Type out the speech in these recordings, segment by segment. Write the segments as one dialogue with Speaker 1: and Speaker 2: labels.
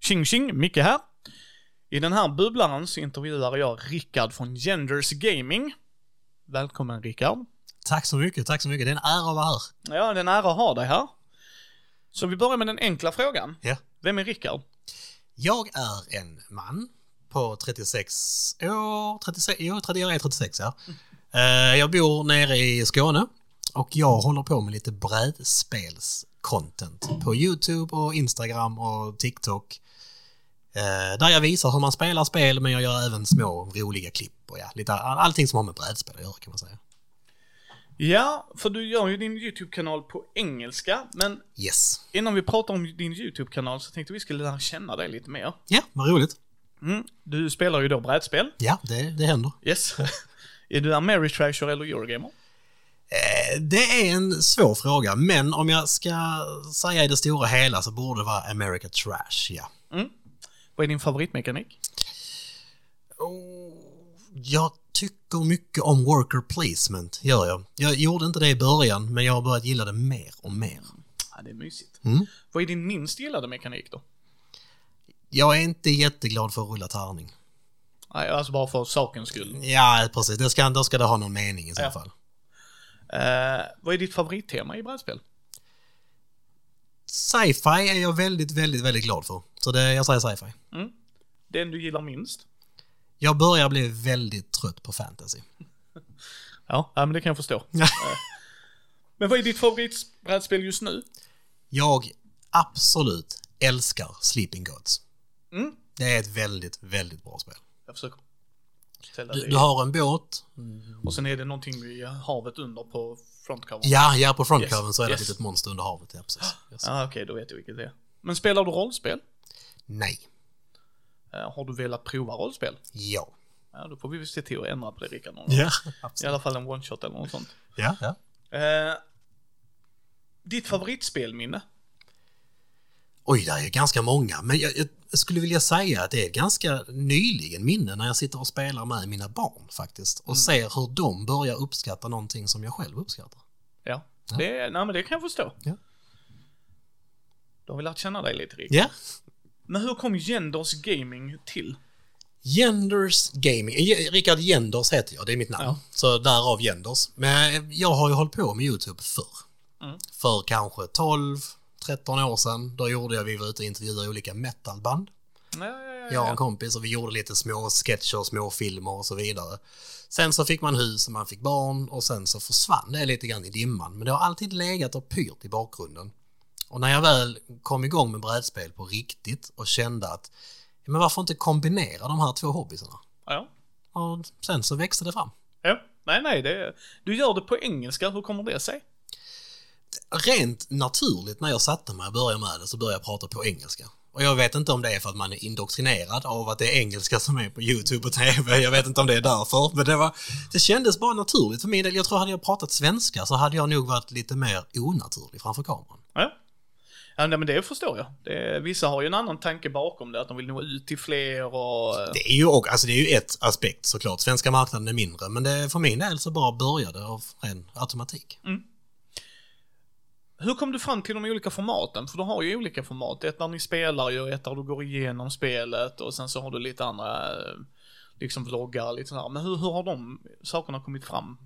Speaker 1: Tjing tjing, Micke här. I den här bubblan så intervjuar jag Rickard från Genders Gaming. Välkommen Rickard.
Speaker 2: Tack så mycket, tack så mycket. Det är en ära att vara här.
Speaker 1: Ja, det är en ära att ha dig här. Så vi börjar med den enkla frågan.
Speaker 2: Ja.
Speaker 1: Vem är Rickard?
Speaker 2: Jag är en man på 36 år, 36, jo, 30 jag är 36 ja. Eh, Jag bor nere i Skåne och jag håller på med lite brädspelscontent på YouTube och Instagram och TikTok. Eh, Där jag visar hur man spelar spel men jag gör även små roliga klipp och ja, lite all- allting som har med brädspel att göra kan man säga.
Speaker 1: Ja, för du gör ju din YouTube-kanal på engelska, men
Speaker 2: Yes.
Speaker 1: innan vi pratar om din YouTube-kanal så tänkte vi skulle lära känna dig lite mer.
Speaker 2: Ja, vad roligt.
Speaker 1: Mm. Du spelar ju då brädspel.
Speaker 2: Ja, det, det händer.
Speaker 1: Yes. är du Ameritrasher eller Eurogamer?
Speaker 2: Eh, Det är en svår fråga, men om jag ska säga i det stora hela så borde det vara America Trash, ja.
Speaker 1: Vad är din favoritmekanik?
Speaker 2: Oh, Jag tycker mycket om worker placement, gör jag. Jag gjorde inte det i början, men jag har börjat gilla det mer och mer.
Speaker 1: Ja, det är mysigt.
Speaker 2: Mm.
Speaker 1: Vad är din minst gillade mekanik då?
Speaker 2: Jag är inte jätteglad för att rulla tärning.
Speaker 1: Nej, Alltså bara för sakens skull.
Speaker 2: Ja, precis. Det ska, då ska det ha någon mening i så
Speaker 1: Ja.
Speaker 2: fall.
Speaker 1: Eh, vad är ditt favorittema i brädspel?
Speaker 2: Sci-fi är jag väldigt, väldigt, väldigt glad för. Så det, jag säger sci-fi.
Speaker 1: Den du gillar minst?
Speaker 2: Jag börjar bli väldigt trött på fantasy.
Speaker 1: Ja, ja men det kan jag förstå. Eh, men vad är ditt favoritbrädspel just nu?
Speaker 2: Jag absolut älskar Sleeping Gods.
Speaker 1: Mm.
Speaker 2: Det är ett väldigt, väldigt bra spel.
Speaker 1: Jag försöker ställa
Speaker 2: Du,
Speaker 1: det.
Speaker 2: du har en båt.
Speaker 1: Och sen är det någonting i havet under på frontcover.
Speaker 2: Ja, ja på frontcovern
Speaker 1: Yes,
Speaker 2: så är det
Speaker 1: yes.
Speaker 2: ett litet monster under havet. Ja, precis. Yes.
Speaker 1: Ah, Okej, då vet jag vilket det är. Men spelar du rollspel?
Speaker 2: Nej.
Speaker 1: Eh, har du velat prova rollspel?
Speaker 2: Ja.
Speaker 1: Ja, då får vi väl se till att ändra på det Rickard. någon gång.
Speaker 2: Ja,
Speaker 1: I
Speaker 2: absolut.
Speaker 1: alla fall en one-shot eller något sånt.
Speaker 2: Ja, ja.
Speaker 1: Eh, ditt favoritspelminne?
Speaker 2: Oj, det är ju ganska många. Men jag, jag skulle vilja säga att det är ganska nyligen minne när jag sitter och spelar med mina barn faktiskt. Och ser hur de börjar uppskatta någonting som jag själv uppskattar.
Speaker 1: Ja, det, nej, men det kan jag förstå.
Speaker 2: Ja.
Speaker 1: Då har vi lärt känna dig lite Rick.
Speaker 2: Ja.
Speaker 1: Men hur kom Genders Gaming till?
Speaker 2: Genders Gaming. Eh, Rickard Genders heter jag, det är mitt namn.
Speaker 1: Ja.
Speaker 2: Så därav Genders. Men jag har ju hållit på med YouTube förr.
Speaker 1: Mm.
Speaker 2: För kanske 12-13 år sedan. Då gjorde jag, vi var ute och intervjuade olika metalband.
Speaker 1: Ja, ja, ja,
Speaker 2: Jag och en kompis och vi gjorde lite små sketcher, små filmer och så vidare. Sen så fick man hus och man fick barn och sen så försvann det lite grann i dimman. Men det har alltid legat och pyrt i bakgrunden. Och när jag väl kom igång med brädspel på riktigt och kände att "Ja, men varför inte kombinera de här två hobbyerna?
Speaker 1: ja.
Speaker 2: Och sen så växte det fram.
Speaker 1: ja. Nej, nej, det, du gör det på engelska. Hur kommer det sig?
Speaker 2: Rent naturligt när jag satte mig och började med det så började jag prata på engelska. Och jag vet inte om det är för att man är indoktrinerad av att det är engelska som är på YouTube och TV. Jag vet inte om det är därför. Men det, var, det kändes bara naturligt för min del. Jag tror hade jag pratat svenska så hade jag nog varit lite mer onaturlig framför kameran.
Speaker 1: Ja. Ja, nej, men det förstår jag. Det, vissa har ju en annan tanke bakom det, att de vill nå ut till fler och... eh,
Speaker 2: Det är ju, och, alltså det är ju ett aspekt såklart. Svenska marknaden är mindre. Men det, för min del så bara började av ren automatik.
Speaker 1: Hur kom du fram till de olika formaten? För du har ju olika format. Ett där ni spelar ju, ett där du går igenom spelet och sen så har du lite andra, eh, liksom vloggar, lite sådär. Men hur, hur har de sakerna kommit fram?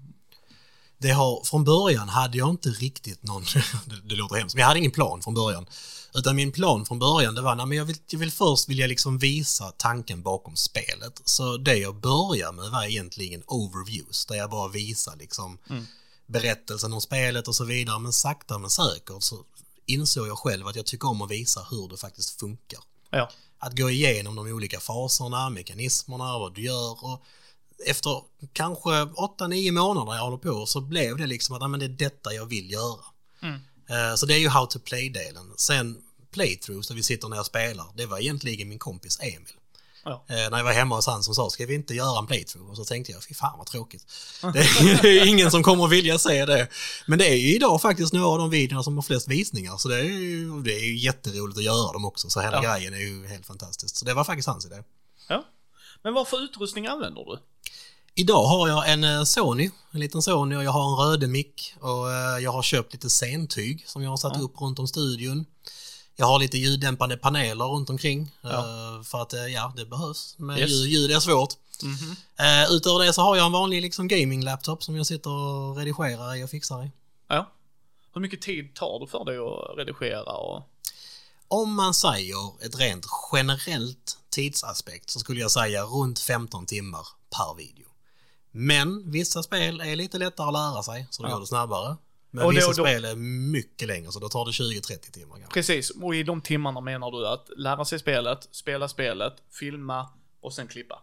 Speaker 2: Det har, från början hade jag inte riktigt någon, det, det låter hemskt, men jag hade ingen plan från början. Utan min plan från början det var, nej, men jag vill, jag vill först vill jag liksom visa tanken bakom spelet. Så det jag började med var egentligen overviews, där jag bara visar liksom berättelsen om spelet och så vidare. Men sakta men säkert så insåg jag själv att jag tycker om att visa hur det faktiskt funkar
Speaker 1: Ja.
Speaker 2: att gå igenom de olika faserna, mekanismerna, vad du gör och efter kanske 8-9 månader jag håller på så blev det liksom att "Ja, men det är detta jag vill göra.
Speaker 1: Mm.
Speaker 2: Eh, Så det är ju how to play-delen. Sen playthroughs där vi sitter när jag spelar, det var egentligen min kompis Emil.
Speaker 1: Ja.
Speaker 2: Eh, När jag var hemma hos han som sa, ska vi inte göra en playthrough? Och så tänkte jag, fy fan vad tråkigt. Det är, det är ingen som kommer att vilja se det. Men det är ju idag faktiskt några av de videorna som har flest visningar. Så det är ju, det är ju jätteroligt att göra dem också. Så hela
Speaker 1: Ja.
Speaker 2: grejen är ju helt fantastisk. Så det var faktiskt hans idé.
Speaker 1: ja. Men vad för utrustning använder du?
Speaker 2: Idag har jag en eh, Sony, en liten Sony och jag har en röde mick och eh, jag har köpt lite scentyg som jag har satt upp runt om studion. Jag har lite ljuddämpande paneler runt omkring.
Speaker 1: Ja.
Speaker 2: eh, För att, eh, ja, det behövs. Men
Speaker 1: Yes.
Speaker 2: ljud, ljud är svårt.
Speaker 1: Mhm.
Speaker 2: Eh, utöver det så har jag en vanlig liksom, gaming-laptop som jag sitter och redigerar i och fixar i.
Speaker 1: Ja. Hur mycket tid tar det för dig att redigera och...
Speaker 2: Om man säger ett rent generellt tidsaspekt så skulle jag säga runt 15 timmar per video. Men vissa spel är lite lättare att lära sig så då
Speaker 1: Ja.
Speaker 2: går det snabbare. Men
Speaker 1: Och det-
Speaker 2: vissa
Speaker 1: och då-
Speaker 2: spel är mycket längre så då tar det 20-30 timmar kanske.
Speaker 1: Precis, och i de timmarna menar du att lära sig spelet, spela spelet, filma och sen klippa.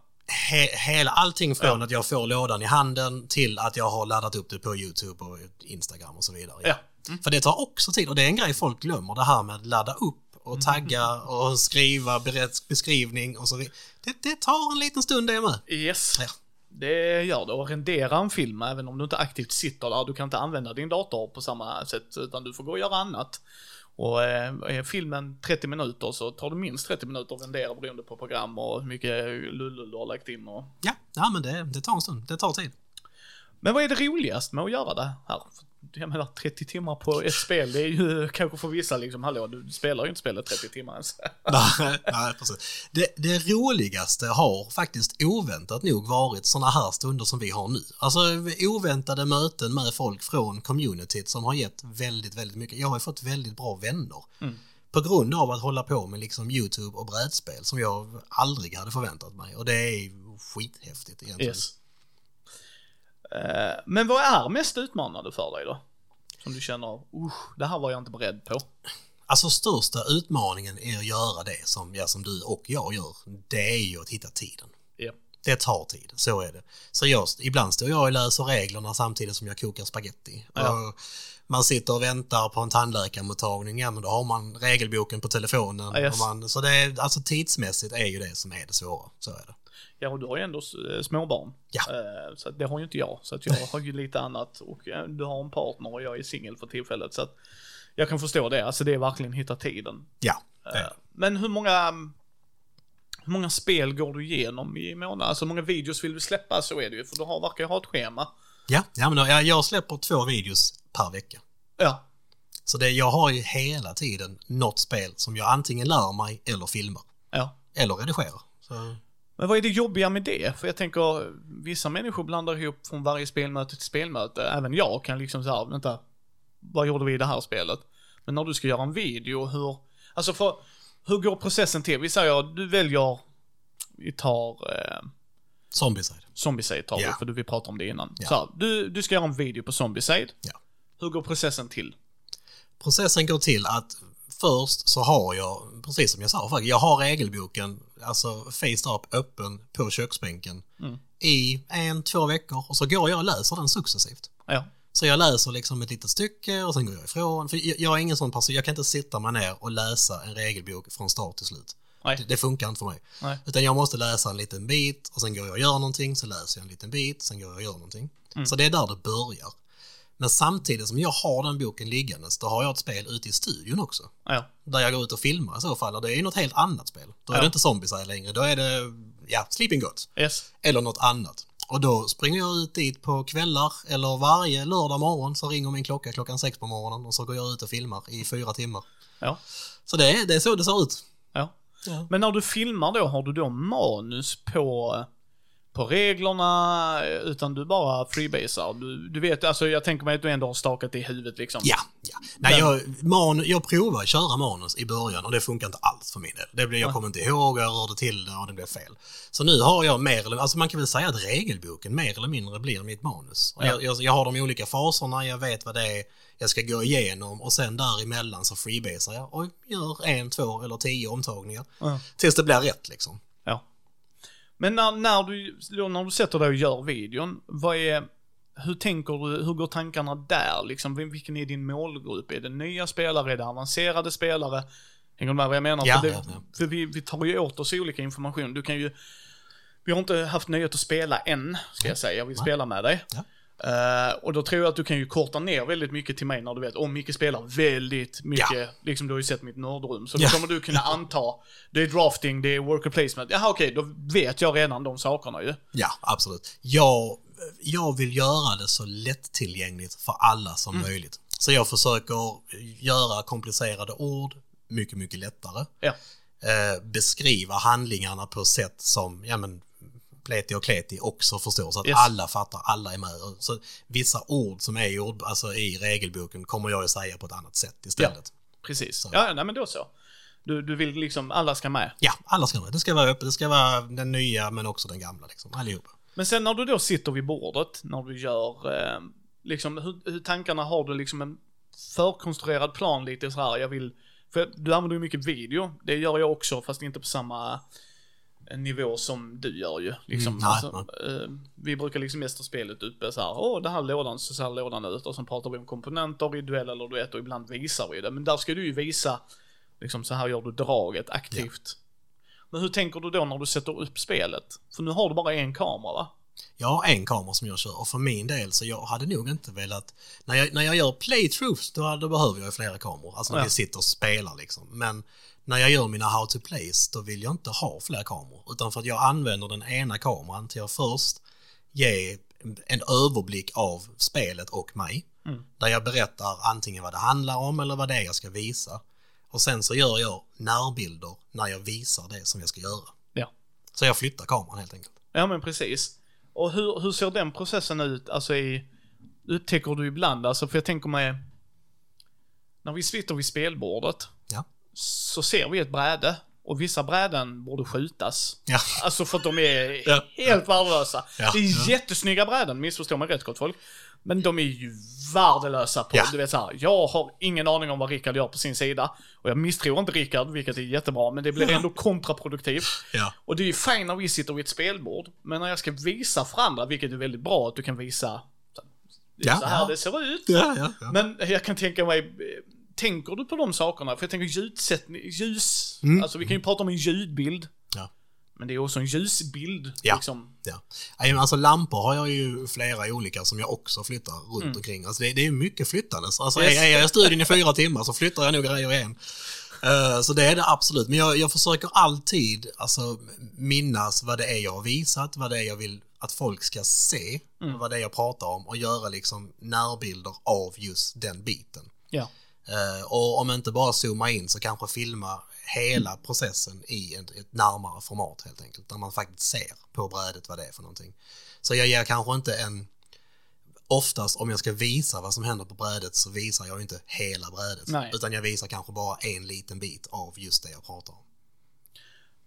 Speaker 2: He- hela, allting från att jag får lådan i handen till att jag har laddat upp det på YouTube och Instagram och så vidare.
Speaker 1: Ja.
Speaker 2: För det tar också tid och det är en grej folk glömmer det här med att ladda upp
Speaker 1: Mm.
Speaker 2: och tagga och skriva berätt, beskrivning och så vidare. Det, det tar en liten stund det med.
Speaker 1: Yes.
Speaker 2: Ja.
Speaker 1: Det gör det. Och rendera en film, även om du inte aktivt sitter där, du kan inte använda din dator på samma sätt, utan du får gå och göra annat. Och eh, är filmen 30 minuter så tar det minst 30 minuter att rendera beroende på program och hur mycket lullull du har lagt in och...
Speaker 2: Ja, ja men det, det tar en stund. Det tar tid.
Speaker 1: Men vad är det roligast med att göra det här? Jag menar 30 timmar på ett spel, det är ju kanske för vissa liksom, hallå du spelar ju inte spelet 30 timmar ens.
Speaker 2: nej, nej, precis. Det, det roligaste har faktiskt oväntat nog varit såna här stunder som vi har nu. Alltså oväntade möten med folk från communityt som har gett väldigt, väldigt mycket. Jag har ju fått väldigt bra vänner. På grund av att hålla på med liksom YouTube och brädspel som jag aldrig hade förväntat mig. Och det är skithäftigt egentligen.
Speaker 1: Yes. Eh, Men vad är mest utmanande för dig då? Som du känner, usch, det här var jag inte beredd på.
Speaker 2: Alltså största utmaningen är att göra det som, ja, som du och jag gör. Det är ju att hitta tiden.
Speaker 1: Ja.
Speaker 2: Det tar tid, så är det. Så jag, ibland står jag och läser reglerna samtidigt som jag kokar spaghetti.
Speaker 1: Ja.
Speaker 2: Och Man sitter och väntar på en tandläkarmottagning, ja men då har man regelboken på telefonen.
Speaker 1: Ja, yes.
Speaker 2: och man, så det är, alltså tidsmässigt är ju det som är det svåra, så är det.
Speaker 1: Ja, och du har ju ändå eh, småbarn.
Speaker 2: Ja.
Speaker 1: Eh, Så att det har ju inte jag. Så att jag har ju lite annat. Och eh, du har en partner och jag är singel för tillfället. Så att jag kan förstå det. Alltså det är verkligen hitta tiden.
Speaker 2: Ja, det
Speaker 1: Eh,
Speaker 2: är det.
Speaker 1: Men hur många, hur många spel går du igenom i månaden? Alltså hur många videos vill du släppa? Så är det ju. För du har, verkar ju ha ett schema.
Speaker 2: ja, ja men då, jag, jag släpper två videos per vecka.
Speaker 1: Ja.
Speaker 2: Så det, jag har ju hela tiden något spel som jag antingen lär mig eller filmar.
Speaker 1: Ja.
Speaker 2: Eller redigerar. Så.
Speaker 1: Men vad är det jobbiga med det? För jag tänker, vissa människor blandar ihop från varje spelmöte till spelmöte. Även jag kan liksom såhär, vänta, vad gjorde vi i det här spelet? Men när du ska göra en video, hur, alltså för, hur går processen till? Vi säger, du väljer, vi tar, eh,
Speaker 2: Zombieside.
Speaker 1: Zombieside tar
Speaker 2: Ja.
Speaker 1: vi, för du, vi pratade om det innan.
Speaker 2: Ja.
Speaker 1: Så här, du, du ska göra en video på Zombieside.
Speaker 2: Ja.
Speaker 1: Hur går processen till?
Speaker 2: processen går till att först så har jag, precis som jag sa, faktiskt, jag har regelboken, alltså face up, öppen på köksbänken
Speaker 1: Mm.
Speaker 2: i en, två veckor och så går jag och läser den successivt.
Speaker 1: Ja,
Speaker 2: Så jag läser liksom ett litet stycke och sen går jag ifrån. För jag- jag är ingen sån person, jag kan inte sitta mig ner och läsa en regelbok från start till slut.
Speaker 1: Nej.
Speaker 2: Det, det funkar inte för mig.
Speaker 1: nej,
Speaker 2: Utan jag måste läsa en liten bit och sen går jag och gör någonting, så läser jag en liten bit, sen går jag och gör någonting. Så det är där det börjar. Men samtidigt som jag har den boken liggandes, då har jag ett spel ute i studion också.
Speaker 1: ja,
Speaker 2: Där jag går ut och filmar i så fall, och det är ju något helt annat spel. Då är
Speaker 1: Ja.
Speaker 2: det inte Zombieside längre, då är det, ja, Sleeping Gods.
Speaker 1: yes,
Speaker 2: Eller något annat. Och då springer jag ut dit på kvällar, eller varje lördag morgon så ringer min klocka klockan sex på morgonen och så går jag ut och filmar i fyra timmar.
Speaker 1: ja,
Speaker 2: Så det är, det är så det ser ut.
Speaker 1: ja.
Speaker 2: Ja.
Speaker 1: Men när du filmar då, har du då manus på, på reglerna, utan du bara freebasar? Du, du vet, alltså jag tänker mig att du ändå har stakat det i huvudet liksom.
Speaker 2: Ja, ja. Nej, jag, man, jag provade att köra manus i början och det funkar inte alls för min del. Det blev, jag
Speaker 1: Nej.
Speaker 2: kommer inte ihåg, jag rörde till det och det blev fel. Så nu har jag mer eller alltså man kan väl säga att regelboken mer eller mindre blir mitt manus. Och
Speaker 1: Ja.
Speaker 2: Jag, jag, jag har de olika faserna, jag vet vad det är jag ska gå igenom och sen däremellan så freebasar jag och gör en, två eller tio omtagningar.
Speaker 1: Ja.
Speaker 2: Tills det blir rätt liksom.
Speaker 1: ja. Men när, när, du, då när du sätter dig och gör videon, vad är, hur tänker du, hur går tankarna där liksom? Vil- Vilken är din målgrupp? Är det nya spelare? Är det avancerade spelare? Hänger du med vad jag menar?
Speaker 2: Ja,
Speaker 1: för det,
Speaker 2: ja, ja.
Speaker 1: För vi, vi tar ju åt oss olika information. Du kan ju, vi har inte haft nöjet att spela än, ska jag säga. Jag vill
Speaker 2: Nej.
Speaker 1: spela med dig.
Speaker 2: Ja.
Speaker 1: Eh, och då tror jag att du kan ju korta ner väldigt mycket till mig när du vet, om Micke spelar väldigt mycket, liksom du har ju sett mitt nördrum, så då
Speaker 2: Ja.
Speaker 1: kommer du kunna anta, det är drafting, det är worker placement, jaha okej, då vet jag redan de sakerna ju.
Speaker 2: Ja, absolut. Jag, jag vill göra det så
Speaker 1: Mm.
Speaker 2: lättillgängligt för alla som möjligt. Så jag försöker göra komplicerade ord mycket, mycket lättare.
Speaker 1: Ja.
Speaker 2: Eh, beskriva handlingarna på sätt som, ja men, Pleti och Kleti också förstår, så att
Speaker 1: Yes.
Speaker 2: alla fattar, alla är med. Så vissa ord som är i, ord, alltså i regelboken kommer jag att säga på ett annat sätt istället.
Speaker 1: Precis. Ja, nej men då så. Du, du vill liksom, alla ska med.
Speaker 2: Ja, alla ska med. Det ska vara öppet, det ska vara den nya men också den gamla liksom, allihopa.
Speaker 1: Men sen när du då sitter vid bordet, när du gör, eh, liksom hur, hur tankarna har du liksom en förkonstruerad plan lite så här, jag vill, för du använder ju mycket video, det gör jag också fast inte på samma eh, nivå som du gör ju. Liksom,
Speaker 2: Mm, nej,
Speaker 1: alltså, eh, vi brukar liksom gästa spelet uppe så här, åh den här lådan, så ser lådan ut och sen pratar vi om komponenter i duell eller duett och ibland visar vi det. Men där ska du ju visa, liksom så här gör du draget aktivt. Men hur tänker du då när du sätter upp spelet? För nu har du bara en kamera va?
Speaker 2: Jag har en kamera som jag kör och för min del så jag hade nog inte velat... När jag, när jag gör playthroughs då, då behöver jag ju flera kameror, alltså när
Speaker 1: Ja.
Speaker 2: vi sitter och spelar liksom. Men när jag gör mina how to plays då vill jag inte ha fler kameror utan för att jag använder den ena kameran till att först ge en överblick av spelet och mig.
Speaker 1: Mm.
Speaker 2: Där jag berättar antingen vad det handlar om eller vad det är jag ska visa. Och sen så gör jag närbilder när jag visar det som jag ska göra.
Speaker 1: Ja.
Speaker 2: Så jag flyttar kameran helt enkelt.
Speaker 1: Ja men precis. Och hur, hur ser den processen ut, alltså i, upptäcker du ibland, alltså för jag tänker mig, när vi sitter vid spelbordet,
Speaker 2: Ja.
Speaker 1: så ser vi ett bräde, och vissa bräden borde skjutas.
Speaker 2: Ja.
Speaker 1: Alltså för att de är
Speaker 2: Ja.
Speaker 1: helt värdelösa.
Speaker 2: Ja.
Speaker 1: Det är
Speaker 2: Ja.
Speaker 1: jättesnygga bräden, missförstå mig rätt gott folk. Men de är ju värdelösa på,
Speaker 2: Ja.
Speaker 1: du vet såhär, jag har ingen aning om vad Rickard gör på sin sida. Och jag misstror inte Rickard, vilket är jättebra, men det blir ändå kontraproduktivt.
Speaker 2: ja.
Speaker 1: Och det är ju fint när vi sitter vid ett spelbord, men när jag ska visa för andra, vilket är väldigt bra att du kan visa det är
Speaker 2: Ja,
Speaker 1: så här
Speaker 2: ja.
Speaker 1: det ser ut.
Speaker 2: Ja, ja, ja.
Speaker 1: Men jag kan tänka mig, eh, tänker du på de sakerna? För jag tänker ljudsättning, ljus,
Speaker 2: Mm.
Speaker 1: alltså vi kan ju prata om en ljudbild.
Speaker 2: Ja.
Speaker 1: Men det är också en ljusbild,
Speaker 2: Ja.
Speaker 1: liksom.
Speaker 2: Ja. Nej, men Alltså lampor har jag ju flera olika som jag också flyttar runt omkring. Alltså det, det är mycket flyttandes. Alltså
Speaker 1: Yes.
Speaker 2: är, är jag i studion i fyra timmar så flyttar jag nog grejer igen. Eh, så det är det absolut. Men jag, jag försöker alltid alltså, minnas vad det är jag har visat, vad det är jag vill att folk ska se, vad det är jag pratar om och göra liksom närbilder av just den biten.
Speaker 1: Ja.
Speaker 2: Eh, och om inte bara zooma in så kanske filma hela processen i ett, ett närmare format helt enkelt. Där man faktiskt ser på brädet vad det är för någonting. Så jag ger kanske inte en... Oftast om jag ska visa vad som händer på brädet så visar jag ju inte hela brädet.
Speaker 1: Nej.
Speaker 2: Utan jag visar kanske bara en liten bit av just det jag pratar om.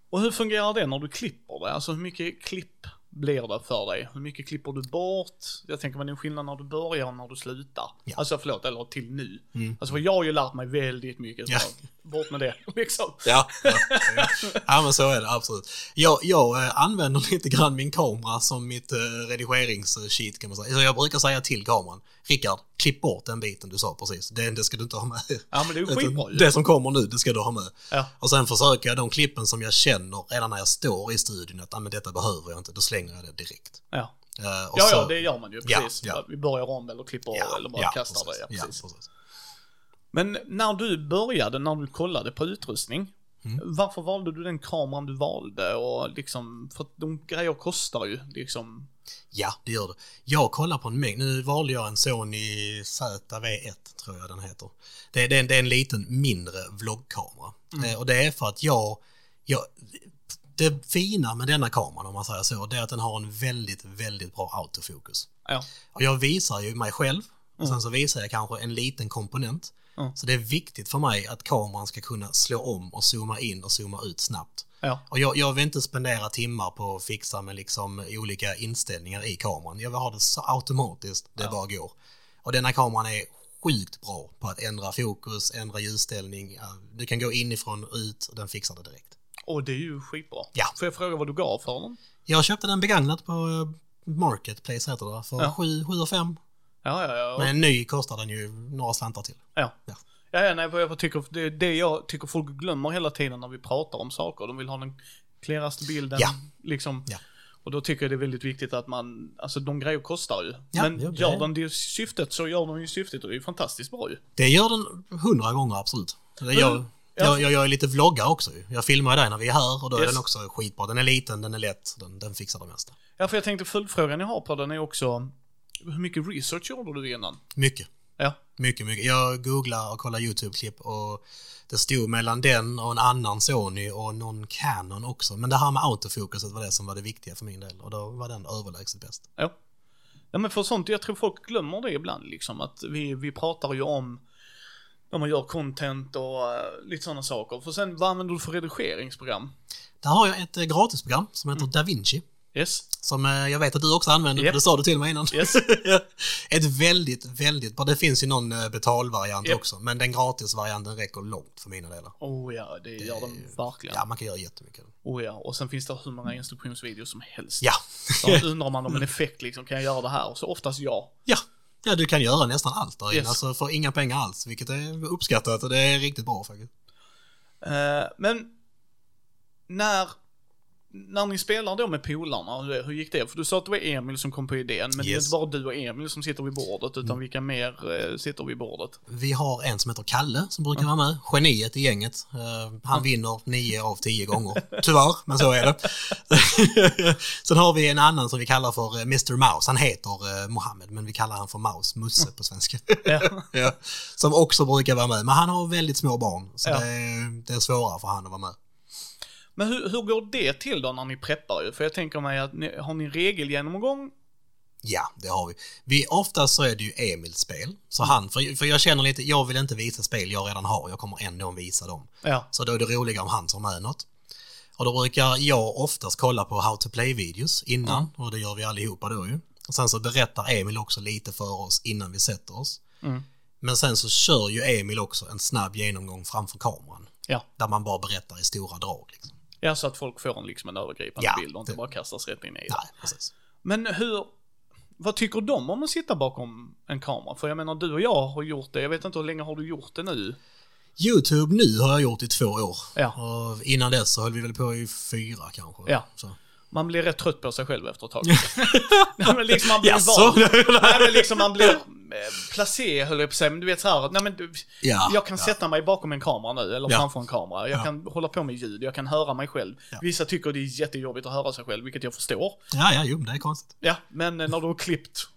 Speaker 1: Och hur fungerar det när du klipper det? Alltså hur mycket klipp blir det för dig? Hur mycket klipper du bort? Jag tänker mig det är en skillnad när du börjar och när du slutar.
Speaker 2: Ja.
Speaker 1: Alltså förlåt, eller till nu.
Speaker 2: Mm.
Speaker 1: Alltså för jag har ju lärt mig väldigt mycket. så
Speaker 2: Ja.
Speaker 1: Bort med det, liksom.
Speaker 2: Ja, ja, ja men så är det absolut. Jag, jag eh, använder lite grann min kamera som mitt eh, redigeringssheet kan man säga. Så jag brukar säga till kameran, Rickard, klipp bort den biten du sa precis. Det, det ska du inte ha med.
Speaker 1: Ja men det är ju skitbra ju.
Speaker 2: Det som kommer nu, det ska du ha med.
Speaker 1: Ja.
Speaker 2: Och sen försöker jag de klippen som jag känner redan när jag står i studion att ah, men detta behöver jag inte, då slänger jag det direkt.
Speaker 1: Ja.
Speaker 2: Eh, och
Speaker 1: ja,
Speaker 2: så-
Speaker 1: ja, det gör man ju
Speaker 2: Ja,
Speaker 1: precis.
Speaker 2: ja.
Speaker 1: Vi börjar om eller klipper eller bara kastar
Speaker 2: precis.
Speaker 1: det. Ja, precis.
Speaker 2: Ja, precis.
Speaker 1: Men när du började, när du kollade på utrustning,
Speaker 2: Mm.
Speaker 1: varför valde du den kameran du valde? Och liksom, för att de grejer kostar ju liksom.
Speaker 2: Ja, det gör det. Jag kollar på en mängd. Nu valde jag en Sony ZV1, tror jag den heter. Det, är- det, är en- det är en liten mindre vloggkamera. Eh, och det är för att jag, jag... Det fina med denna kameran, om man säger så, det är att den har en väldigt, väldigt bra autofokus.
Speaker 1: Ja,
Speaker 2: Och jag visar ju mig själv och sen så visar jag kanske en liten komponent.
Speaker 1: Mm.
Speaker 2: Så det är viktigt för mig att kameran ska kunna slå om och zooma in och zooma ut snabbt.
Speaker 1: ja,
Speaker 2: Och jag, jag vill inte spendera timmar på att fixa med liksom olika inställningar i kameran. Jag vill ha det så automatiskt det bara går. Och denna kameran är sjukt bra på att ändra fokus, ändra ljusställning. Ja, Du kan gå inifrån och ut och den fixar det direkt.
Speaker 1: och det är ju skitbra.
Speaker 2: Ja.
Speaker 1: Får jag fråga vad du gav för den?
Speaker 2: Jag köpte den begagnat på eh, Marketplace heter det,
Speaker 1: Ja.
Speaker 2: för sju sju och fem.
Speaker 1: Ja, ja, ja.
Speaker 2: Men en ny kostar den ju några slantar till.
Speaker 1: Ja.
Speaker 2: Ja.
Speaker 1: Ja, ja nej, för jag tycker, det är det jag tycker folk glömmer hela tiden när vi pratar om saker. De vill ha den klaraste bilden.
Speaker 2: Ja.
Speaker 1: Liksom.
Speaker 2: Ja.
Speaker 1: Och då tycker jag det är väldigt viktigt att man, alltså de grejer kostar ju.
Speaker 2: Ja,
Speaker 1: Men
Speaker 2: ja, det
Speaker 1: gör
Speaker 2: är-
Speaker 1: den det syftet så gör de ju syftet och det är ju fantastiskt bra ju.
Speaker 2: Det gör den hundra gånger absolut. Det gör,
Speaker 1: Mm. ja.
Speaker 2: jag, jag, jag är lite vloggar också ju. Jag filmar dig när vi är här och då är
Speaker 1: Yes.
Speaker 2: den också skitbra. Den är liten, den är lätt, den, den fixar det mesta.
Speaker 1: Ja, för jag tänkte följdfrågan jag har på den är också, hur mycket research gjorde du innan?
Speaker 2: Mycket.
Speaker 1: Ja.
Speaker 2: Mycket, mycket. Jag googlar och kollar YouTube-klipp och det stod mellan den och en annan Sony och någon Canon också. Men det här med autofokuset var det som var det viktiga för min del och då var den överlägset bäst.
Speaker 1: Ja. ja men för sånt, jag tror folk glömmer det ibland liksom att vi, vi pratar ju om när man gör content och eh, lite sådana saker. För sen, vad använder du för redigeringsprogram?
Speaker 2: Där har jag ett eh, gratisprogram som heter DaVinci.
Speaker 1: Yes,
Speaker 2: Som eh, jag vet att du också använder,
Speaker 1: Mm. Japp.
Speaker 2: för det sa du till mig innan.
Speaker 1: yes.
Speaker 2: Ett väldigt, väldigt bra. Det finns ju någon eh, betalvariant
Speaker 1: Japp.
Speaker 2: också, men den gratisvarianten räcker långt för mina delar.
Speaker 1: Oh ja, det gör de verkligen.
Speaker 2: Ja, man kan göra jättemycket.
Speaker 1: Oh ja, och sen finns det hur många instruktionsvideos som helst.
Speaker 2: Ja.
Speaker 1: Då undrar man om en effekt liksom, kan jag göra det här? Och så oftast ja.
Speaker 2: ja. Ja, du kan göra nästan allt där inne,
Speaker 1: Yes.
Speaker 2: alltså för inga pengar alls, vilket är uppskattat och det är riktigt bra faktiskt.
Speaker 1: Eh, men när, när ni spelar då med polarna, hur- hur gick det? För du sa att det var Emil som kom på idén, men det är
Speaker 2: Yes.
Speaker 1: inte bara du och Emil som sitter vid bordet, utan vilka mer eh, sitter vid bordet?
Speaker 2: Vi har en som heter Kalle som brukar vara med, geniet i gänget. Eh, han vinner nio av tio gånger, tyvärr, men så är det. Sen har vi en annan som vi kallar för eh, Mr Mouse, han heter eh, Mohammed men vi kallar han för Mouse, Musse på svenska.
Speaker 1: Ja.
Speaker 2: ja. Som också brukar vara med, men han har väldigt små barn så
Speaker 1: Ja.
Speaker 2: det, är, det är svårare för han att vara med.
Speaker 1: Men hur, hur går det till då när ni preppar ju? För jag tänker mig att ni, har ni en regelgenomgång?
Speaker 2: Ja, det har vi. vi. Oftast så är det ju Emils spel. Så han, för, för jag känner lite, jag vill inte visa spel jag redan har, jag kommer ändå visa dem.
Speaker 1: Ja.
Speaker 2: Så då är det roligare om han tar med något. Och då brukar jag oftast kolla på How to Play-videos innan, och det gör vi allihopa då ju. Och sen så berättar Emil också lite för oss innan vi sätter oss.
Speaker 1: Mm.
Speaker 2: Men sen så kör ju Emil också en snabb genomgång framför kameran,
Speaker 1: Ja.
Speaker 2: där man bara berättar i stora drag. Liksom.
Speaker 1: ja, så att folk får en, liksom, en övergripande
Speaker 2: Ja,
Speaker 1: bild och inte
Speaker 2: det-
Speaker 1: bara kastas rätt in i det.
Speaker 2: Nej, precis.
Speaker 1: Men hur, vad tycker de om att sitta bakom en kamera? För jag menar, du och jag har gjort det, jag vet inte hur länge har du gjort det nu?
Speaker 2: YouTube nu har jag gjort i två år.
Speaker 1: Ja.
Speaker 2: Och innan dess så höll vi väl på i fyra kanske.
Speaker 1: Ja.
Speaker 2: Så.
Speaker 1: Man blir rätt trött på sig själv efter ett tag. nej, men liksom man blir
Speaker 2: Jaså?
Speaker 1: van. Nej, men liksom man blir eh, placé, höll jag på att säga, men du vet så här, att, nej men du,
Speaker 2: Ja,
Speaker 1: jag kan
Speaker 2: Ah, ja.
Speaker 1: sätta mig bakom en kamera nu, eller
Speaker 2: Ja.
Speaker 1: framför en kamera. Jag
Speaker 2: Ja.
Speaker 1: kan hålla på med ljud, jag kan höra mig själv. Vissa tycker det är jättejobbigt att höra sig själv, vilket jag förstår.
Speaker 2: Ja, ja, jo, det är konstigt.
Speaker 1: Ja, men eh, när du har klippt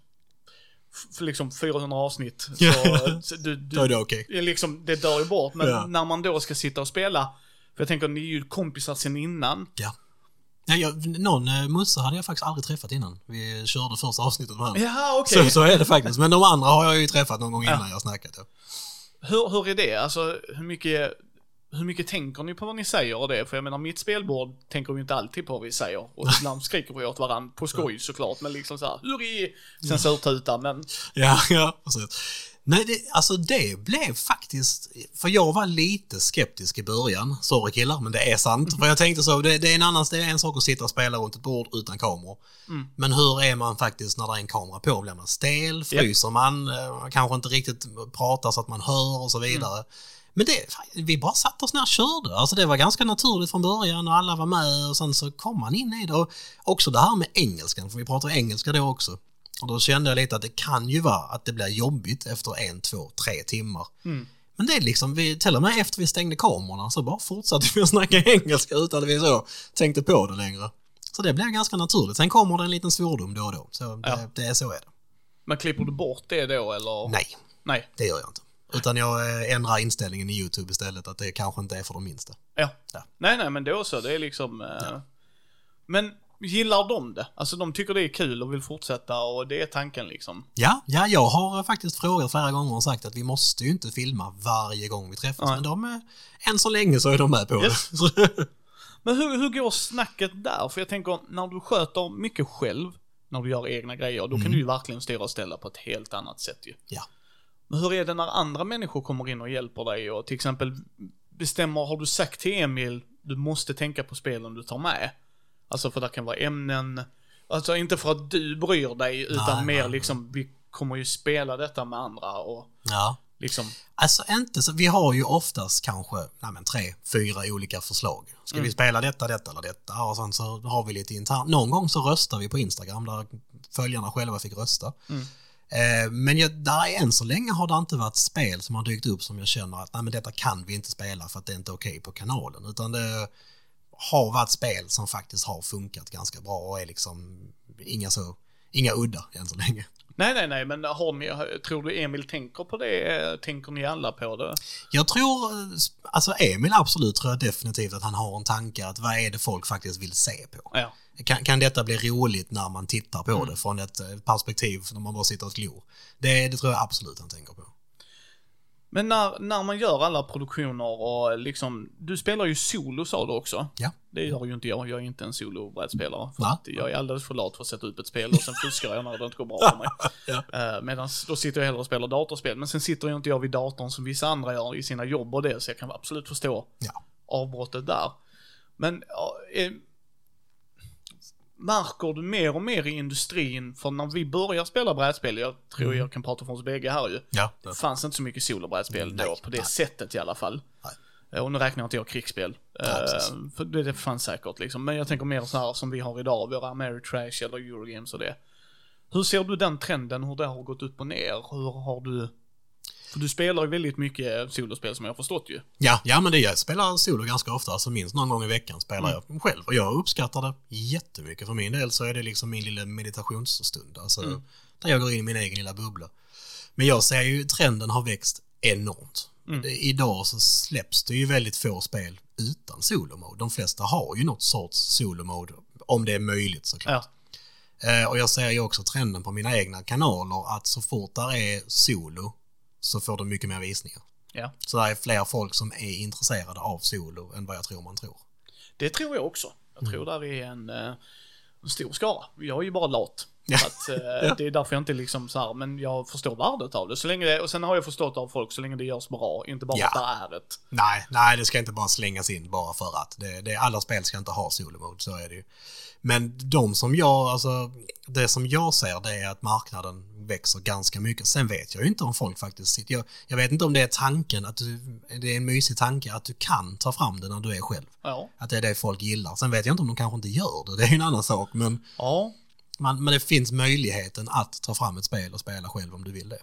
Speaker 1: f- liksom 400 avsnitt, så,
Speaker 2: Ja.
Speaker 1: så du, du,
Speaker 2: Då är det okej.
Speaker 1: det är liksom, det dör ju bort. Men
Speaker 2: Ja.
Speaker 1: när man då ska sitta och spela, för jag tänker ni är ju kompisar sen innan.
Speaker 2: Ja. Ja, jag, någon eh, Musse hade jag faktiskt aldrig träffat innan. Vi körde första avsnittet med honom.
Speaker 1: Ja, okej.
Speaker 2: Så, så är det faktiskt. Men de andra har jag ju träffat någon gång innan
Speaker 1: Ja.
Speaker 2: jag har snackat. Ja.
Speaker 1: Hur, hur är det? Alltså, hur mycket, hur mycket tänker ni på vad ni säger och det? För jag menar, mitt spelbord tänker ju inte alltid på vad vi säger. Och ibland skriker vi åt varandra, på skoj såklart, men liksom så här, hur är censurtuta, men...
Speaker 2: Ja, ja, precis. Nej, det, alltså det blev faktiskt, för jag var lite skeptisk i början, sorry killar, men det är sant. För jag tänkte så, det, det, är en annan, det är en sak att sitta och spela runt ett bord utan kameror.
Speaker 1: Mm.
Speaker 2: Men hur är man faktiskt när det är en kamera på? Blir man stel? Fryser man? Eh, man Kanske inte riktigt pratar så att man hör och
Speaker 1: Mm.
Speaker 2: så vidare. Men det, fan, vi bara satte oss ner och körde. Alltså det var ganska naturligt från början och alla var med och sen så kom man in i det. Och också det här med engelskan, för vi pratar engelska då också. Och då kände jag lite att det kan ju vara att det blir jobbigt efter en, två, tre timmar.
Speaker 1: Mm.
Speaker 2: Men det är liksom, vi, till och med efter vi stängde kamerorna så bara fortsatte vi att snacka engelska utan att vi så tänkte på det längre. Så det blev ganska naturligt. Sen kommer det en liten svordom då och då. Så det,
Speaker 1: Ja.
Speaker 2: det är så är det.
Speaker 1: Men klipper du bort det då, eller?
Speaker 2: Nej,
Speaker 1: Nej.
Speaker 2: det gör jag inte. Utan jag eh, ändrar inställningen i YouTube istället att det kanske inte är för de minsta.
Speaker 1: Ja.
Speaker 2: Ja.
Speaker 1: Nej, nej, men då så. Det är liksom... eh, Men gillar de det? Alltså de tycker det är kul och vill fortsätta och det är tanken liksom.
Speaker 2: Ja, ja, jag har eh, faktiskt frågat flera gånger och sagt att vi måste ju inte filma varje gång vi träffas.
Speaker 1: Nej.
Speaker 2: Men de, eh, än så länge så är de med på det.
Speaker 1: Yes. Men hur, hur går snacket där? För jag tänker, när du sköter mycket själv, när du gör egna grejer, då kan du ju verkligen styra och ställa på ett helt annat sätt ju.
Speaker 2: Mm. Ja.
Speaker 1: Men hur är det när andra människor kommer in och hjälper dig och till exempel bestämmer, har du sagt till Emil, du måste tänka på spelen du tar med? Alltså för det kan vara ämnen, alltså inte för att du bryr dig, utan
Speaker 2: Nej,
Speaker 1: mer
Speaker 2: nej.
Speaker 1: liksom, vi kommer ju spela detta med andra och
Speaker 2: ja.
Speaker 1: liksom,
Speaker 2: Alltså inte så, vi har ju oftast kanske nej men, tre, fyra olika förslag. Ska vi spela detta, detta eller detta? Och sen så har vi lite internt. Någon gång så röstar vi på Instagram där följarna själva fick rösta. Eh, men jag, där är, än så länge har det inte varit spel som har dykt upp som jag känner att nej men detta kan vi inte spela för att det är inte okej på kanalen. Utan det har varit spel som faktiskt har funkat ganska bra och är liksom inga så inga udda än så länge.
Speaker 1: Nej, nej, nej, men har ni, tror du Emil tänker på det? Tänker ni alla på det?
Speaker 2: Jag tror, eh, alltså Emil absolut tror jag definitivt att han har en tanke att vad är det folk faktiskt vill se på?
Speaker 1: Ja.
Speaker 2: Kan, kan detta bli roligt när man tittar på det från ett eh, perspektiv när man bara sitter och glor? Det, det tror jag absolut han tänker på.
Speaker 1: Men när, när man gör alla produktioner och liksom, du spelar ju solo sa du också.
Speaker 2: Ja.
Speaker 1: Det gör ju inte jag, jag är inte en solobrädspelare. För
Speaker 2: Va?
Speaker 1: att jag är alldeles för lat för att sätta upp ett spel och sen fuskar jag när det inte går bra för mig. Eh, Medan då sitter jag hellre och spelar datorspel. Men sen sitter ju inte jag vid datorn som vissa andra gör i sina jobb och det, så jag kan absolut förstå
Speaker 2: Ja.
Speaker 1: avbrottet där. Men ja, eh, märker du mer och mer i industrin, för när vi börjar spela brädspel, jag tror
Speaker 2: Mm.
Speaker 1: jag kan prata för oss bägge här ju,
Speaker 2: Ja.
Speaker 1: det fanns inte så mycket solobrädspel då,
Speaker 2: Nej,
Speaker 1: på det
Speaker 2: nej.
Speaker 1: sättet i alla fall.
Speaker 2: Nej.
Speaker 1: Eh, Och nu räknar jag inte jag krigsspel. Eh,
Speaker 2: precis.
Speaker 1: för det, det fanns säkert liksom. Men jag tänker mer så här som vi har idag, våra Ameritrash eller Eurogames och det. Hur ser du den trenden, hur det har gått upp och ner? Hur har du... För du spelar ju väldigt mycket solospel som jag har förstått ju.
Speaker 2: Ja, ja, men det jag spelar solo ganska ofta, alltså minst någon gång i veckan spelar jag själv. Och jag uppskattar det jättemycket. För min del så är det liksom min lilla meditationsstund, alltså där jag går in i min egen lilla bubbla. Men jag ser ju trenden har växt enormt. Det- Idag så släpps det ju väldigt få spel utan solo-mode. De flesta har ju något sorts solo-mode, om det är möjligt såklart.
Speaker 1: Ja.
Speaker 2: Eh, Och jag ser ju också trenden på mina egna kanaler att så fort där är solo så får de mycket mer visningar.
Speaker 1: ja.
Speaker 2: Så det är fler folk som är intresserade av solo än vad jag tror man tror.
Speaker 1: Det tror jag också. Jag
Speaker 2: Mm.
Speaker 1: tror där är en, eh, en stor skara. Jag är ju bara lat.
Speaker 2: Ja.
Speaker 1: Så att, eh, Det är därför jag inte liksom så här, men jag förstår värdet av det. Så länge det. Och sen har jag förstått av folk, så länge det görs bra, inte bara
Speaker 2: Ja.
Speaker 1: att det är ett.
Speaker 2: Nej, nej, det ska inte bara slängas in bara för att. Det, det, alla spel ska inte ha solomode, så är det ju. Men de som jag, alltså, det som jag ser det är att marknaden växer ganska mycket. Sen vet jag ju inte om folk faktiskt sitter... Jag, jag vet inte om det är tanken, att du, det är en mysig tanke att du kan ta fram det när du är själv.
Speaker 1: Ja.
Speaker 2: Att det är det folk gillar. Sen vet jag inte om de kanske inte gör det, det är ju en annan sak. Men,
Speaker 1: ja.
Speaker 2: man, men det finns möjligheten att ta fram ett spel och spela själv om du vill det.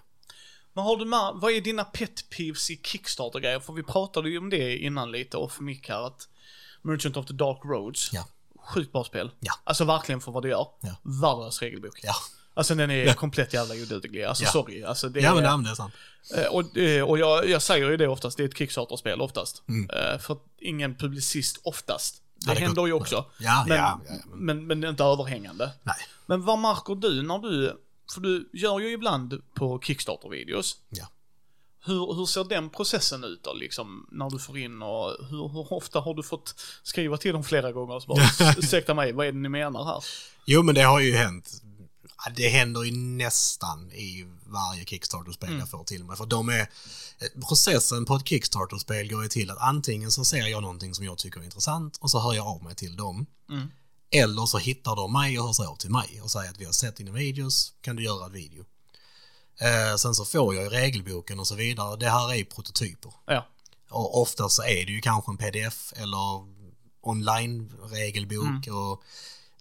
Speaker 1: Men har du med, vad är dina pet peeves i Kickstarter-grejer? För vi pratade ju om det innan lite, och för Mick här, att Merchant of the Dark Roads,
Speaker 2: Ja.
Speaker 1: sjukt bra spel.
Speaker 2: Ja.
Speaker 1: Alltså verkligen för vad det gör.
Speaker 2: Ja.
Speaker 1: Värdelös regelbok.
Speaker 2: Ja,
Speaker 1: Alltså den är komplett jävla oduglig. Alltså
Speaker 2: Ja.
Speaker 1: sorry. Alltså, det
Speaker 2: ja
Speaker 1: är,
Speaker 2: men det, men det är sant.
Speaker 1: Eh, Och, eh, och jag, jag säger ju det oftast, det är ett Kickstarter-spel oftast. Eh, För att ingen publicist oftast. Det,
Speaker 2: Mm. Ja, det
Speaker 1: händer
Speaker 2: går-
Speaker 1: ju också.
Speaker 2: Ja,
Speaker 1: men,
Speaker 2: ja, ja,
Speaker 1: men... Men, det är inte överhängande.
Speaker 2: Nej.
Speaker 1: Men vad märker du när du, för du gör ju ibland på Kickstarter-videos.
Speaker 2: Ja.
Speaker 1: Hur, hur ser den processen ut då, liksom, när du får in och hur, hur ofta har du fått skriva till dem flera gånger och så bara, ursäkta mig, vad är det ni menar här?
Speaker 2: Jo, men det har ju hänt. Ja, Det händer ju nästan i varje Kickstarter-spel jag får till mig. För de är, processen på ett Kickstarter-spel går ju till att antingen så ser jag någonting som jag tycker är intressant och så hör jag av mig till dem.
Speaker 1: Mm.
Speaker 2: Eller så hittar de mig och hör sig av till mig och säger att vi har sett dina videos, kan du göra en video? Eh, sen så får jag ju regelboken och så vidare. Det här är ju prototyper.
Speaker 1: Ja,
Speaker 2: Och ofta så är det ju kanske en pdf eller online-regelbok. Och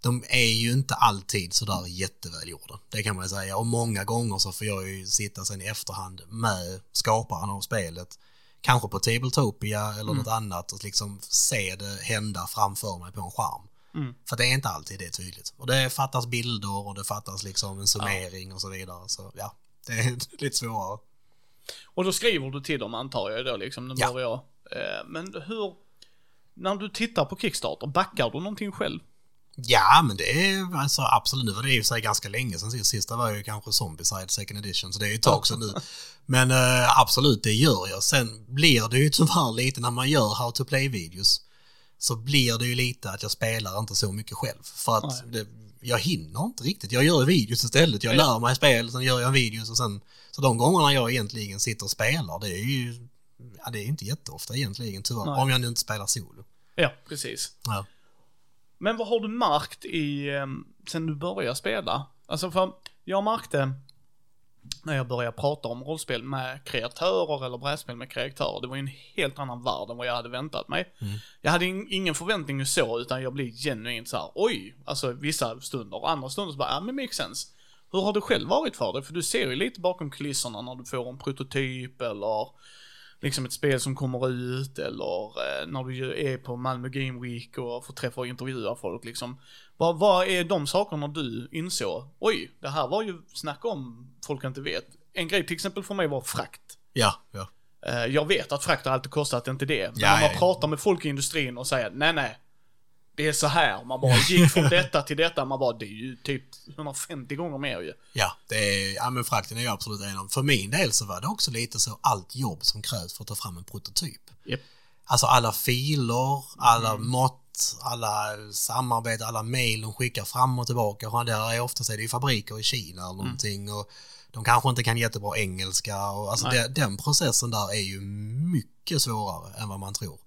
Speaker 2: de är ju inte alltid sådär jättevälgjorda. Det kan man ju säga. Och många gånger så får jag ju sitta sen i efterhand med skaparen av spelet. Kanske på Tabletopia eller något annat och liksom se det hända framför mig på en skärm.
Speaker 1: Mm.
Speaker 2: För det är inte alltid det tydligt. Och det fattas bilder och det fattas liksom en summering och så vidare. Så ja, det är lite svårare.
Speaker 1: Och då skriver du till dem antar jag då liksom, nu
Speaker 2: Ja.
Speaker 1: börjar jag. Eh, Men hur, när du tittar på Kickstarter, backar du någonting själv?
Speaker 2: Ja, men det är alltså absolut. Nu var det i och för sig ganska länge sedan sist. Sista var ju kanske Zombieside Second Edition, så det är ju ett tag sedan nu. Men eh, absolut, det gör jag. Sen blir det ju tyvärr lite när man gör How to Play-videos så blir det ju lite att jag spelar inte så mycket själv. För att det, jag hinner inte riktigt. Jag gör videos istället. Jag
Speaker 1: Ja.
Speaker 2: lär mig spel, sen gör jag videos och sen... Så de gångerna jag egentligen sitter och spelar, det är ju... Ja, det är inte jätteofta egentligen tyvärr.
Speaker 1: Nej.
Speaker 2: Om jag nu inte spelar solo.
Speaker 1: Ja, precis.
Speaker 2: Ja.
Speaker 1: Men vad har du märkt i, eh, sen du började spela? Alltså för, jag märkte när jag började prata om rollspel med kreatörer eller brädspel med kreatörer, det var ju en helt annan värld än vad jag hade väntat mig. Jag hade in, ingen förväntning så, utan jag blev genuint så här: oj, alltså vissa stunder, andra stunder så bara, ja men makes sense. Hur har det själv varit för dig? För du ser ju lite bakom kulisserna när du får en prototyp eller liksom ett spel som kommer ut eller eh, när du ju är på Malmö Game Week och får träffa och intervjua folk liksom. Vad, vad är de sakerna du insåg? Oj, det här var ju snack om folk inte vet. En grej till exempel för mig var frakt.
Speaker 2: Ja, ja.
Speaker 1: Eh, Jag vet att frakt har alltid kostat, inte det. Men
Speaker 2: Ja,
Speaker 1: när man
Speaker 2: ja, ja.
Speaker 1: pratar med folk i industrin och säger nej, nej. Det är så här. Man bara gick från detta till detta. Man bara, det är ju typ 150 gånger mer ju.
Speaker 2: Ja, det är, ja, men frakten är ju absolut en av... För min del så var det också lite så allt jobb som krävs för att ta fram en prototyp.
Speaker 1: Japp.
Speaker 2: Alltså alla filer, alla
Speaker 1: Mm.
Speaker 2: mått, alla samarbete, alla mejl de skickar fram och tillbaka. Och där är oftast är det ju fabriker i Kina
Speaker 1: Mm.
Speaker 2: eller någonting. Och de kanske inte kan jättebra engelska. Och alltså
Speaker 1: Nej.
Speaker 2: det, den processen där är ju mycket svårare än vad man tror.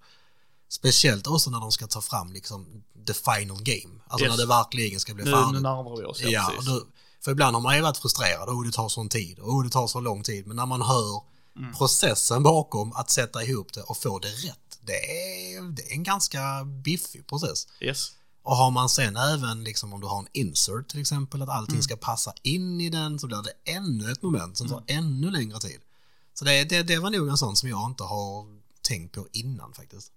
Speaker 2: Speciellt också när de ska ta fram liksom the final game. Alltså
Speaker 1: Yes.
Speaker 2: när det verkligen ska bli
Speaker 1: Nu,
Speaker 2: färdigt.
Speaker 1: nu närmar vi oss, ja,
Speaker 2: Ja,
Speaker 1: precis.
Speaker 2: då, för ibland har man ju varit frustrerad. Åh, det tar sån tid. Åh, det tar så lång tid. Men när man hör
Speaker 1: Mm.
Speaker 2: processen bakom att sätta ihop det och få det rätt. Det är, det är en ganska biffig process.
Speaker 1: Yes.
Speaker 2: Och har man sen även, liksom om du har en insert till exempel, att allting
Speaker 1: Mm.
Speaker 2: ska passa in i den så blir det ännu ett moment som tar
Speaker 1: Mm.
Speaker 2: ännu längre tid. Så det, det, det var nog en sån som jag inte har tänkt på innan faktiskt.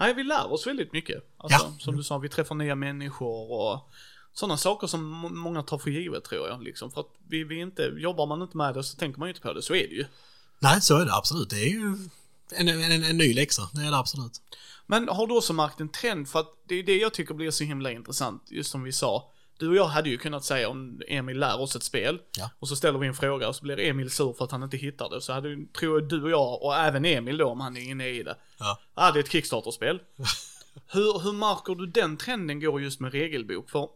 Speaker 1: Nej, vi lär oss väldigt mycket. Alltså,
Speaker 2: Ja.
Speaker 1: Som du sa, vi träffar nya människor och sådana saker som m- många tar för givet tror jag. Liksom. För att vi, vi inte, jobbar man inte med det så tänker man ju inte på det, så är det ju.
Speaker 2: Nej, så är det absolut. Det är ju en, en, en, en ny läxa. Det är det absolut.
Speaker 1: Men har du också märkt en trend? För att det är det jag tycker blir så himla intressant, just som vi sa. Du och jag hade ju kunnat säga om Emil lär oss ett spel
Speaker 2: Ja.
Speaker 1: och så ställer vi en fråga och så blir Emil sur för att han inte hittar det. Så hade ju- tror jag du och jag, och även Emil då om han är inne i det,
Speaker 2: Ja.
Speaker 1: ah, det är ett Kickstarter-spel. hur, hur märker du den trenden går just med regelbok? För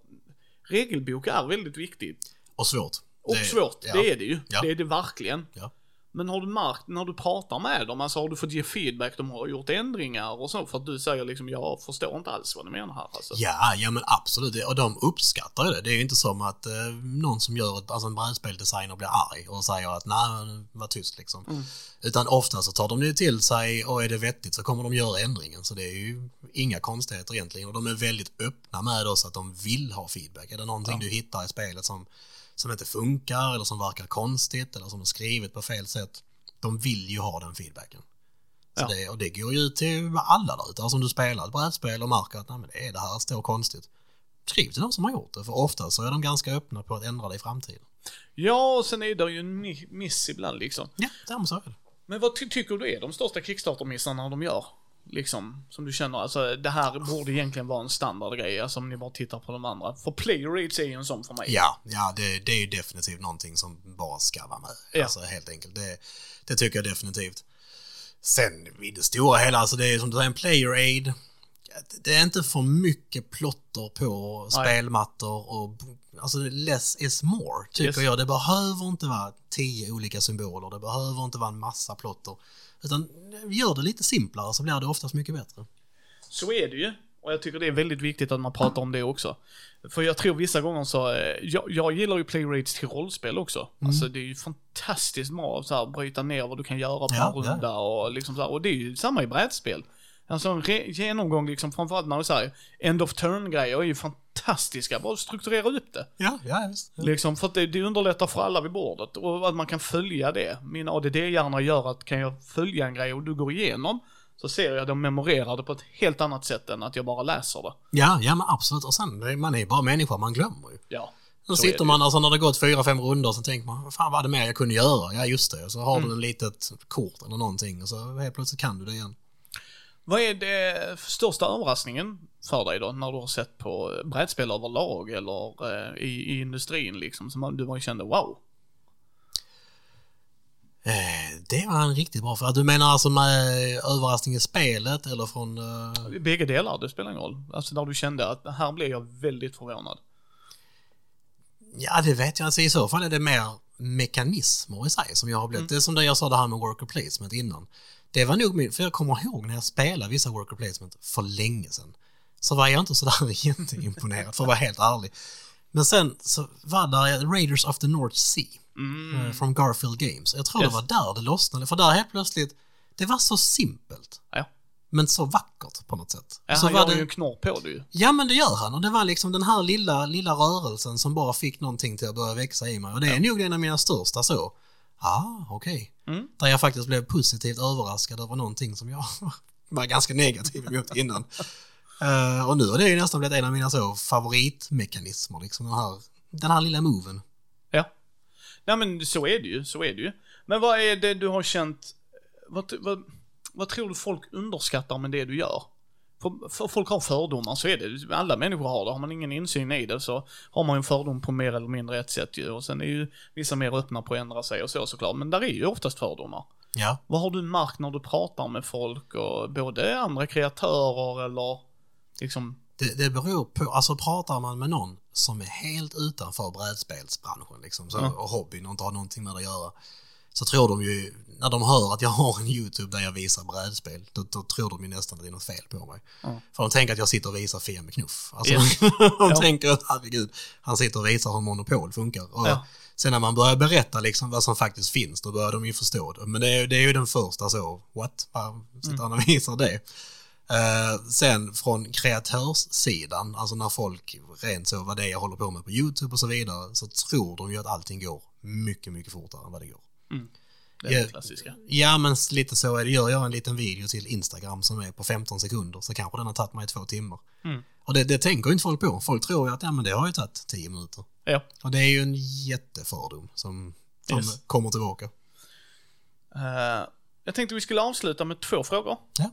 Speaker 1: regelbok är väldigt viktigt.
Speaker 2: Och svårt.
Speaker 1: Och
Speaker 2: Det-
Speaker 1: svårt,
Speaker 2: ja.
Speaker 1: det är det ju.
Speaker 2: Ja.
Speaker 1: Det är det verkligen.
Speaker 2: Ja.
Speaker 1: Men har du märkt när du pratar med dem, alltså har du fått ge feedback, de har gjort ändringar och så, för att du säger liksom jag förstår inte alls vad ni menar här alltså.
Speaker 2: Ja, ja men absolut. Det- Och de uppskattar ju det. Det är ju inte som att eh, någon som gör ett, alltså en brädspeldesigner blir arg och säger att nej, men var tyst liksom. Utan ofta så tar de det till sig och är det vettigt så kommer de göra ändringen. Så det är ju inga konstigheter egentligen. Och de är väldigt öppna med oss att de vill ha feedback. Är det någonting du hittar i spelet som, som inte funkar eller som verkar konstigt eller som är skrivet på fel sätt. De vill ju ha den feedbacken. Så
Speaker 1: Ja.
Speaker 2: det, och det går ju ut till alla där ute. Alltså om du spelar ett brädspel och märker att Nej, men det, är, det här står konstigt. Skriv till de som har gjort det, för ofta så är de ganska öppna på att ändra det i framtiden.
Speaker 1: Ja, och sen är det ju en mi- miss ibland liksom.
Speaker 2: Ja, därmed så är det.
Speaker 1: Men vad ty- tycker du är de största Kickstarter-missarna de gör? Liksom, som du känner, alltså det här borde egentligen vara en standardgrej, alltså om ni bara tittar på de andra. För player rates är ju en sån för mig.
Speaker 2: Ja, ja det, det är ju definitivt någonting som bara ska vara med.
Speaker 1: Ja.
Speaker 2: Alltså helt enkelt. Det, det tycker jag definitivt. Sen i det stora hela, alltså det är som du säger en player aid. Det är inte för mycket plotter på spelmattor och alltså less is more tycker
Speaker 1: Yes.
Speaker 2: jag. Det behöver inte vara tio olika symboler, det behöver inte vara en massa plotter. Utan gör det lite simplare så blir det oftast mycket bättre.
Speaker 1: Så är det ju. Och jag tycker det är väldigt viktigt att man pratar om det också. För jag tror vissa gånger så, eh, jag, jag gillar ju playrates till rollspel också.
Speaker 2: Mm.
Speaker 1: Alltså det är ju fantastiskt bra att så här, bryta ner vad du kan göra på
Speaker 2: Ja,
Speaker 1: en runda och liksom så här, Och det är ju samma i brädspel. Alltså en re- genomgång liksom, framförallt när du säger end of turn-grejer är ju fantastiska. Bara strukturera upp det.
Speaker 2: Ja, ja visst.
Speaker 1: Liksom, för att det, det underlättar för alla vid bordet och att man kan följa det. Min ADD-hjärna gör att kan jag följa en grej och du går igenom så ser jag att de memorerar det på ett helt annat sätt än att jag bara läser det.
Speaker 2: Ja, ja men absolut. Och sen, man är ju bara människa, man glömmer ju.
Speaker 1: Ja.
Speaker 2: Då
Speaker 1: Så är det
Speaker 2: sitter man alltså när det har gått fyra, fem runder så tänker man, vad fan vad är det mer jag kunde göra? Ja just det, så har du
Speaker 1: Mm.
Speaker 2: en litet kort eller någonting och så helt plötsligt kan du det igen.
Speaker 1: Vad är det största överraskningen för dig då när du har sett på eh, brädspel överlag eller eh, i, i industrin liksom som man- du bara kände wow?
Speaker 2: Eh, det var en riktigt bra fråga. Du menar alltså med överraskning i spelet eller från... Eh,
Speaker 1: Bägge delar, det spelar ingen roll. Alltså där du kände att här blev jag väldigt förvånad.
Speaker 2: ja det vet jag, alltså, i så fall är det mer mekanismer i sig som jag har blivit.
Speaker 1: Mm.
Speaker 2: Det är som det jag sa det här med worker placement innan. Det var nog min, för jag kommer ihåg när jag spelade vissa worker placement för länge sedan. Så var jag inte sådär jätteimponerad för att vara helt ärlig. Men sen så var där Raiders of the North Sea.
Speaker 1: Mm.
Speaker 2: eh, från Garfield Games. Jag tror
Speaker 1: Yes.
Speaker 2: det var där det lossnade, för där helt plötsligt, det var så simpelt,
Speaker 1: Ja.
Speaker 2: men så vackert på något sätt.
Speaker 1: Ja,
Speaker 2: så
Speaker 1: han
Speaker 2: var
Speaker 1: gör
Speaker 2: det,
Speaker 1: ju en knorr på det ju.
Speaker 2: Ja men det gör han, och det var liksom den här lilla, lilla rörelsen som bara fick någonting till att börja växa i mig, och det är nog en av mina största så. Ah, okej.
Speaker 1: Mm.
Speaker 2: Där jag faktiskt blev positivt överraskad över någonting som jag var ganska negativ emot innan. Eh, och nu har det ju nästan blivit en av mina så favoritmekanismer, liksom den här, den här lilla moven.
Speaker 1: Ja. Nej men så är det ju, så är det ju. Men vad är det du har känt, vad, vad, vad tror du folk underskattar med det du gör? För, för folk har fördomar, så är det. Alla människor har det. Har man ingen insyn i det så har man ju en fördom på mer eller mindre ett sätt ju. Och sen är ju vissa mer öppna på att ändra sig och så såklart. Men där är ju oftast fördomar.
Speaker 2: Ja.
Speaker 1: Vad har du märkt när du pratar med folk och både andra kreatörer eller liksom,
Speaker 2: Det, det beror på, alltså pratar man med någon som är helt utanför brädspelsbranschen liksom, så,
Speaker 1: Ja.
Speaker 2: och hobbyn och inte har någonting med det att göra, så tror de ju, när de hör att jag har en YouTube där jag visar brädspel, då, då tror de ju nästan att det är något fel på mig.
Speaker 1: Ja.
Speaker 2: För de tänker att jag sitter och visar Fia med knuff. Alltså,
Speaker 1: Ja.
Speaker 2: de
Speaker 1: Ja.
Speaker 2: tänker att herregud, han sitter och visar hur monopol funkar. Och
Speaker 1: Ja.
Speaker 2: Sen när man börjar berätta liksom vad som faktiskt finns, då börjar de ju förstå det. Men det är, ju- det är ju den första så, what? Vad sitter
Speaker 1: Mm.
Speaker 2: han och visar det? Eh, sen från kreatörssidan, alltså när folk rent så vad det är jag håller på med på YouTube och så vidare, så tror de ju att allting går mycket, mycket fortare än vad det går.
Speaker 1: det är
Speaker 2: Ja.
Speaker 1: det klassiska?
Speaker 2: Ja, men s- lite så är det. Gör jag en liten video till Instagram som är på 15 sekunder så kanske den har tagit mig två timmar.
Speaker 1: Mm.
Speaker 2: Och det, det tänker ju inte folk på. Folk tror ju att ja, men det har ju tagit 10 minuter.
Speaker 1: Ja.
Speaker 2: Och det är ju en jättefördom som, som
Speaker 1: Yes.
Speaker 2: kommer tillbaka.
Speaker 1: Eh, jag tänkte vi skulle avsluta med två frågor.
Speaker 2: Ja.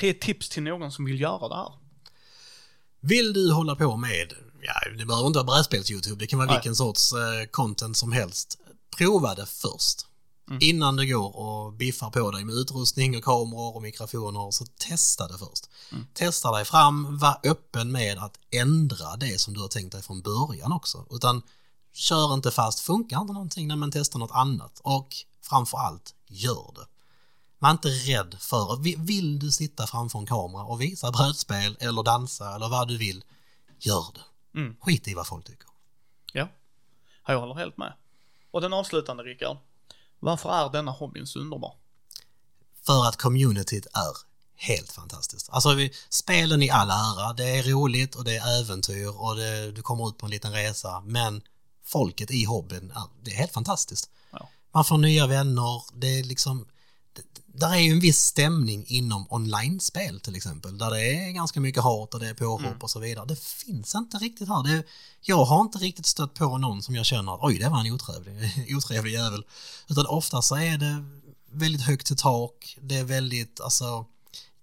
Speaker 1: Tre tips till någon som vill göra det här.
Speaker 2: Vill du hålla på med, ja, det behöver inte vara brädspels-YouTube, det kan vara
Speaker 1: Nej.
Speaker 2: vilken sorts eh, content som helst. Prova det först.
Speaker 1: Mm.
Speaker 2: Innan du går och biffar på dig med utrustning och kameror och mikrofoner, så testa det först.
Speaker 1: Mm.
Speaker 2: Testa dig fram, var öppen med att ändra det som du har tänkt dig från början också. Utan kör inte fast, funkar inte någonting, när man testar något annat. Och framför allt, gör det. Var inte rädd för, vi- vill du sitta framför en kamera och visa brädspel eller dansa eller vad du vill, gör det.
Speaker 1: Mm.
Speaker 2: Skit i vad folk tycker.
Speaker 1: Ja. Ja, Jag håller helt med. Och den avslutande Rickard. Varför är denna hobbyn så underbar?
Speaker 2: För att communityt är helt fantastiskt. Alltså vi, spelen i all ära, det är roligt och det är äventyr och det, du kommer ut på en liten resa, men folket i hobbyn, är, det är helt fantastiskt.
Speaker 1: Ja.
Speaker 2: Man får nya vänner, det är liksom det- där är ju en viss stämning inom online-spel till exempel, där det är ganska mycket hat och det är påhopp och så vidare. Det finns inte riktigt här. Det, jag har inte riktigt stött på någon som jag känner att oj, det var en otrevlig, otrevlig jävel. Utan ofta så är det väldigt högt i tak, det är väldigt, alltså,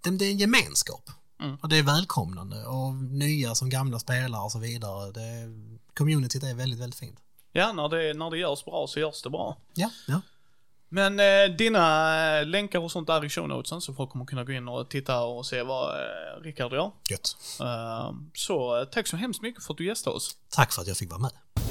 Speaker 2: det, det är en gemenskap.
Speaker 1: Mm.
Speaker 2: Och det är välkomnande och nya som gamla spelare och så vidare. Det, communityt är väldigt, väldigt fint.
Speaker 1: Ja, när det, när det görs bra så görs det bra.
Speaker 2: Ja, ja.
Speaker 1: Men eh, dina eh, länkar och sånt där i show notesen så folk kommer kunna gå in och titta och se vad eh, Rickard gör.
Speaker 2: Gött.
Speaker 1: Eh, så eh, tack så hemskt mycket för att du gästade oss.
Speaker 2: Tack för att jag fick vara med.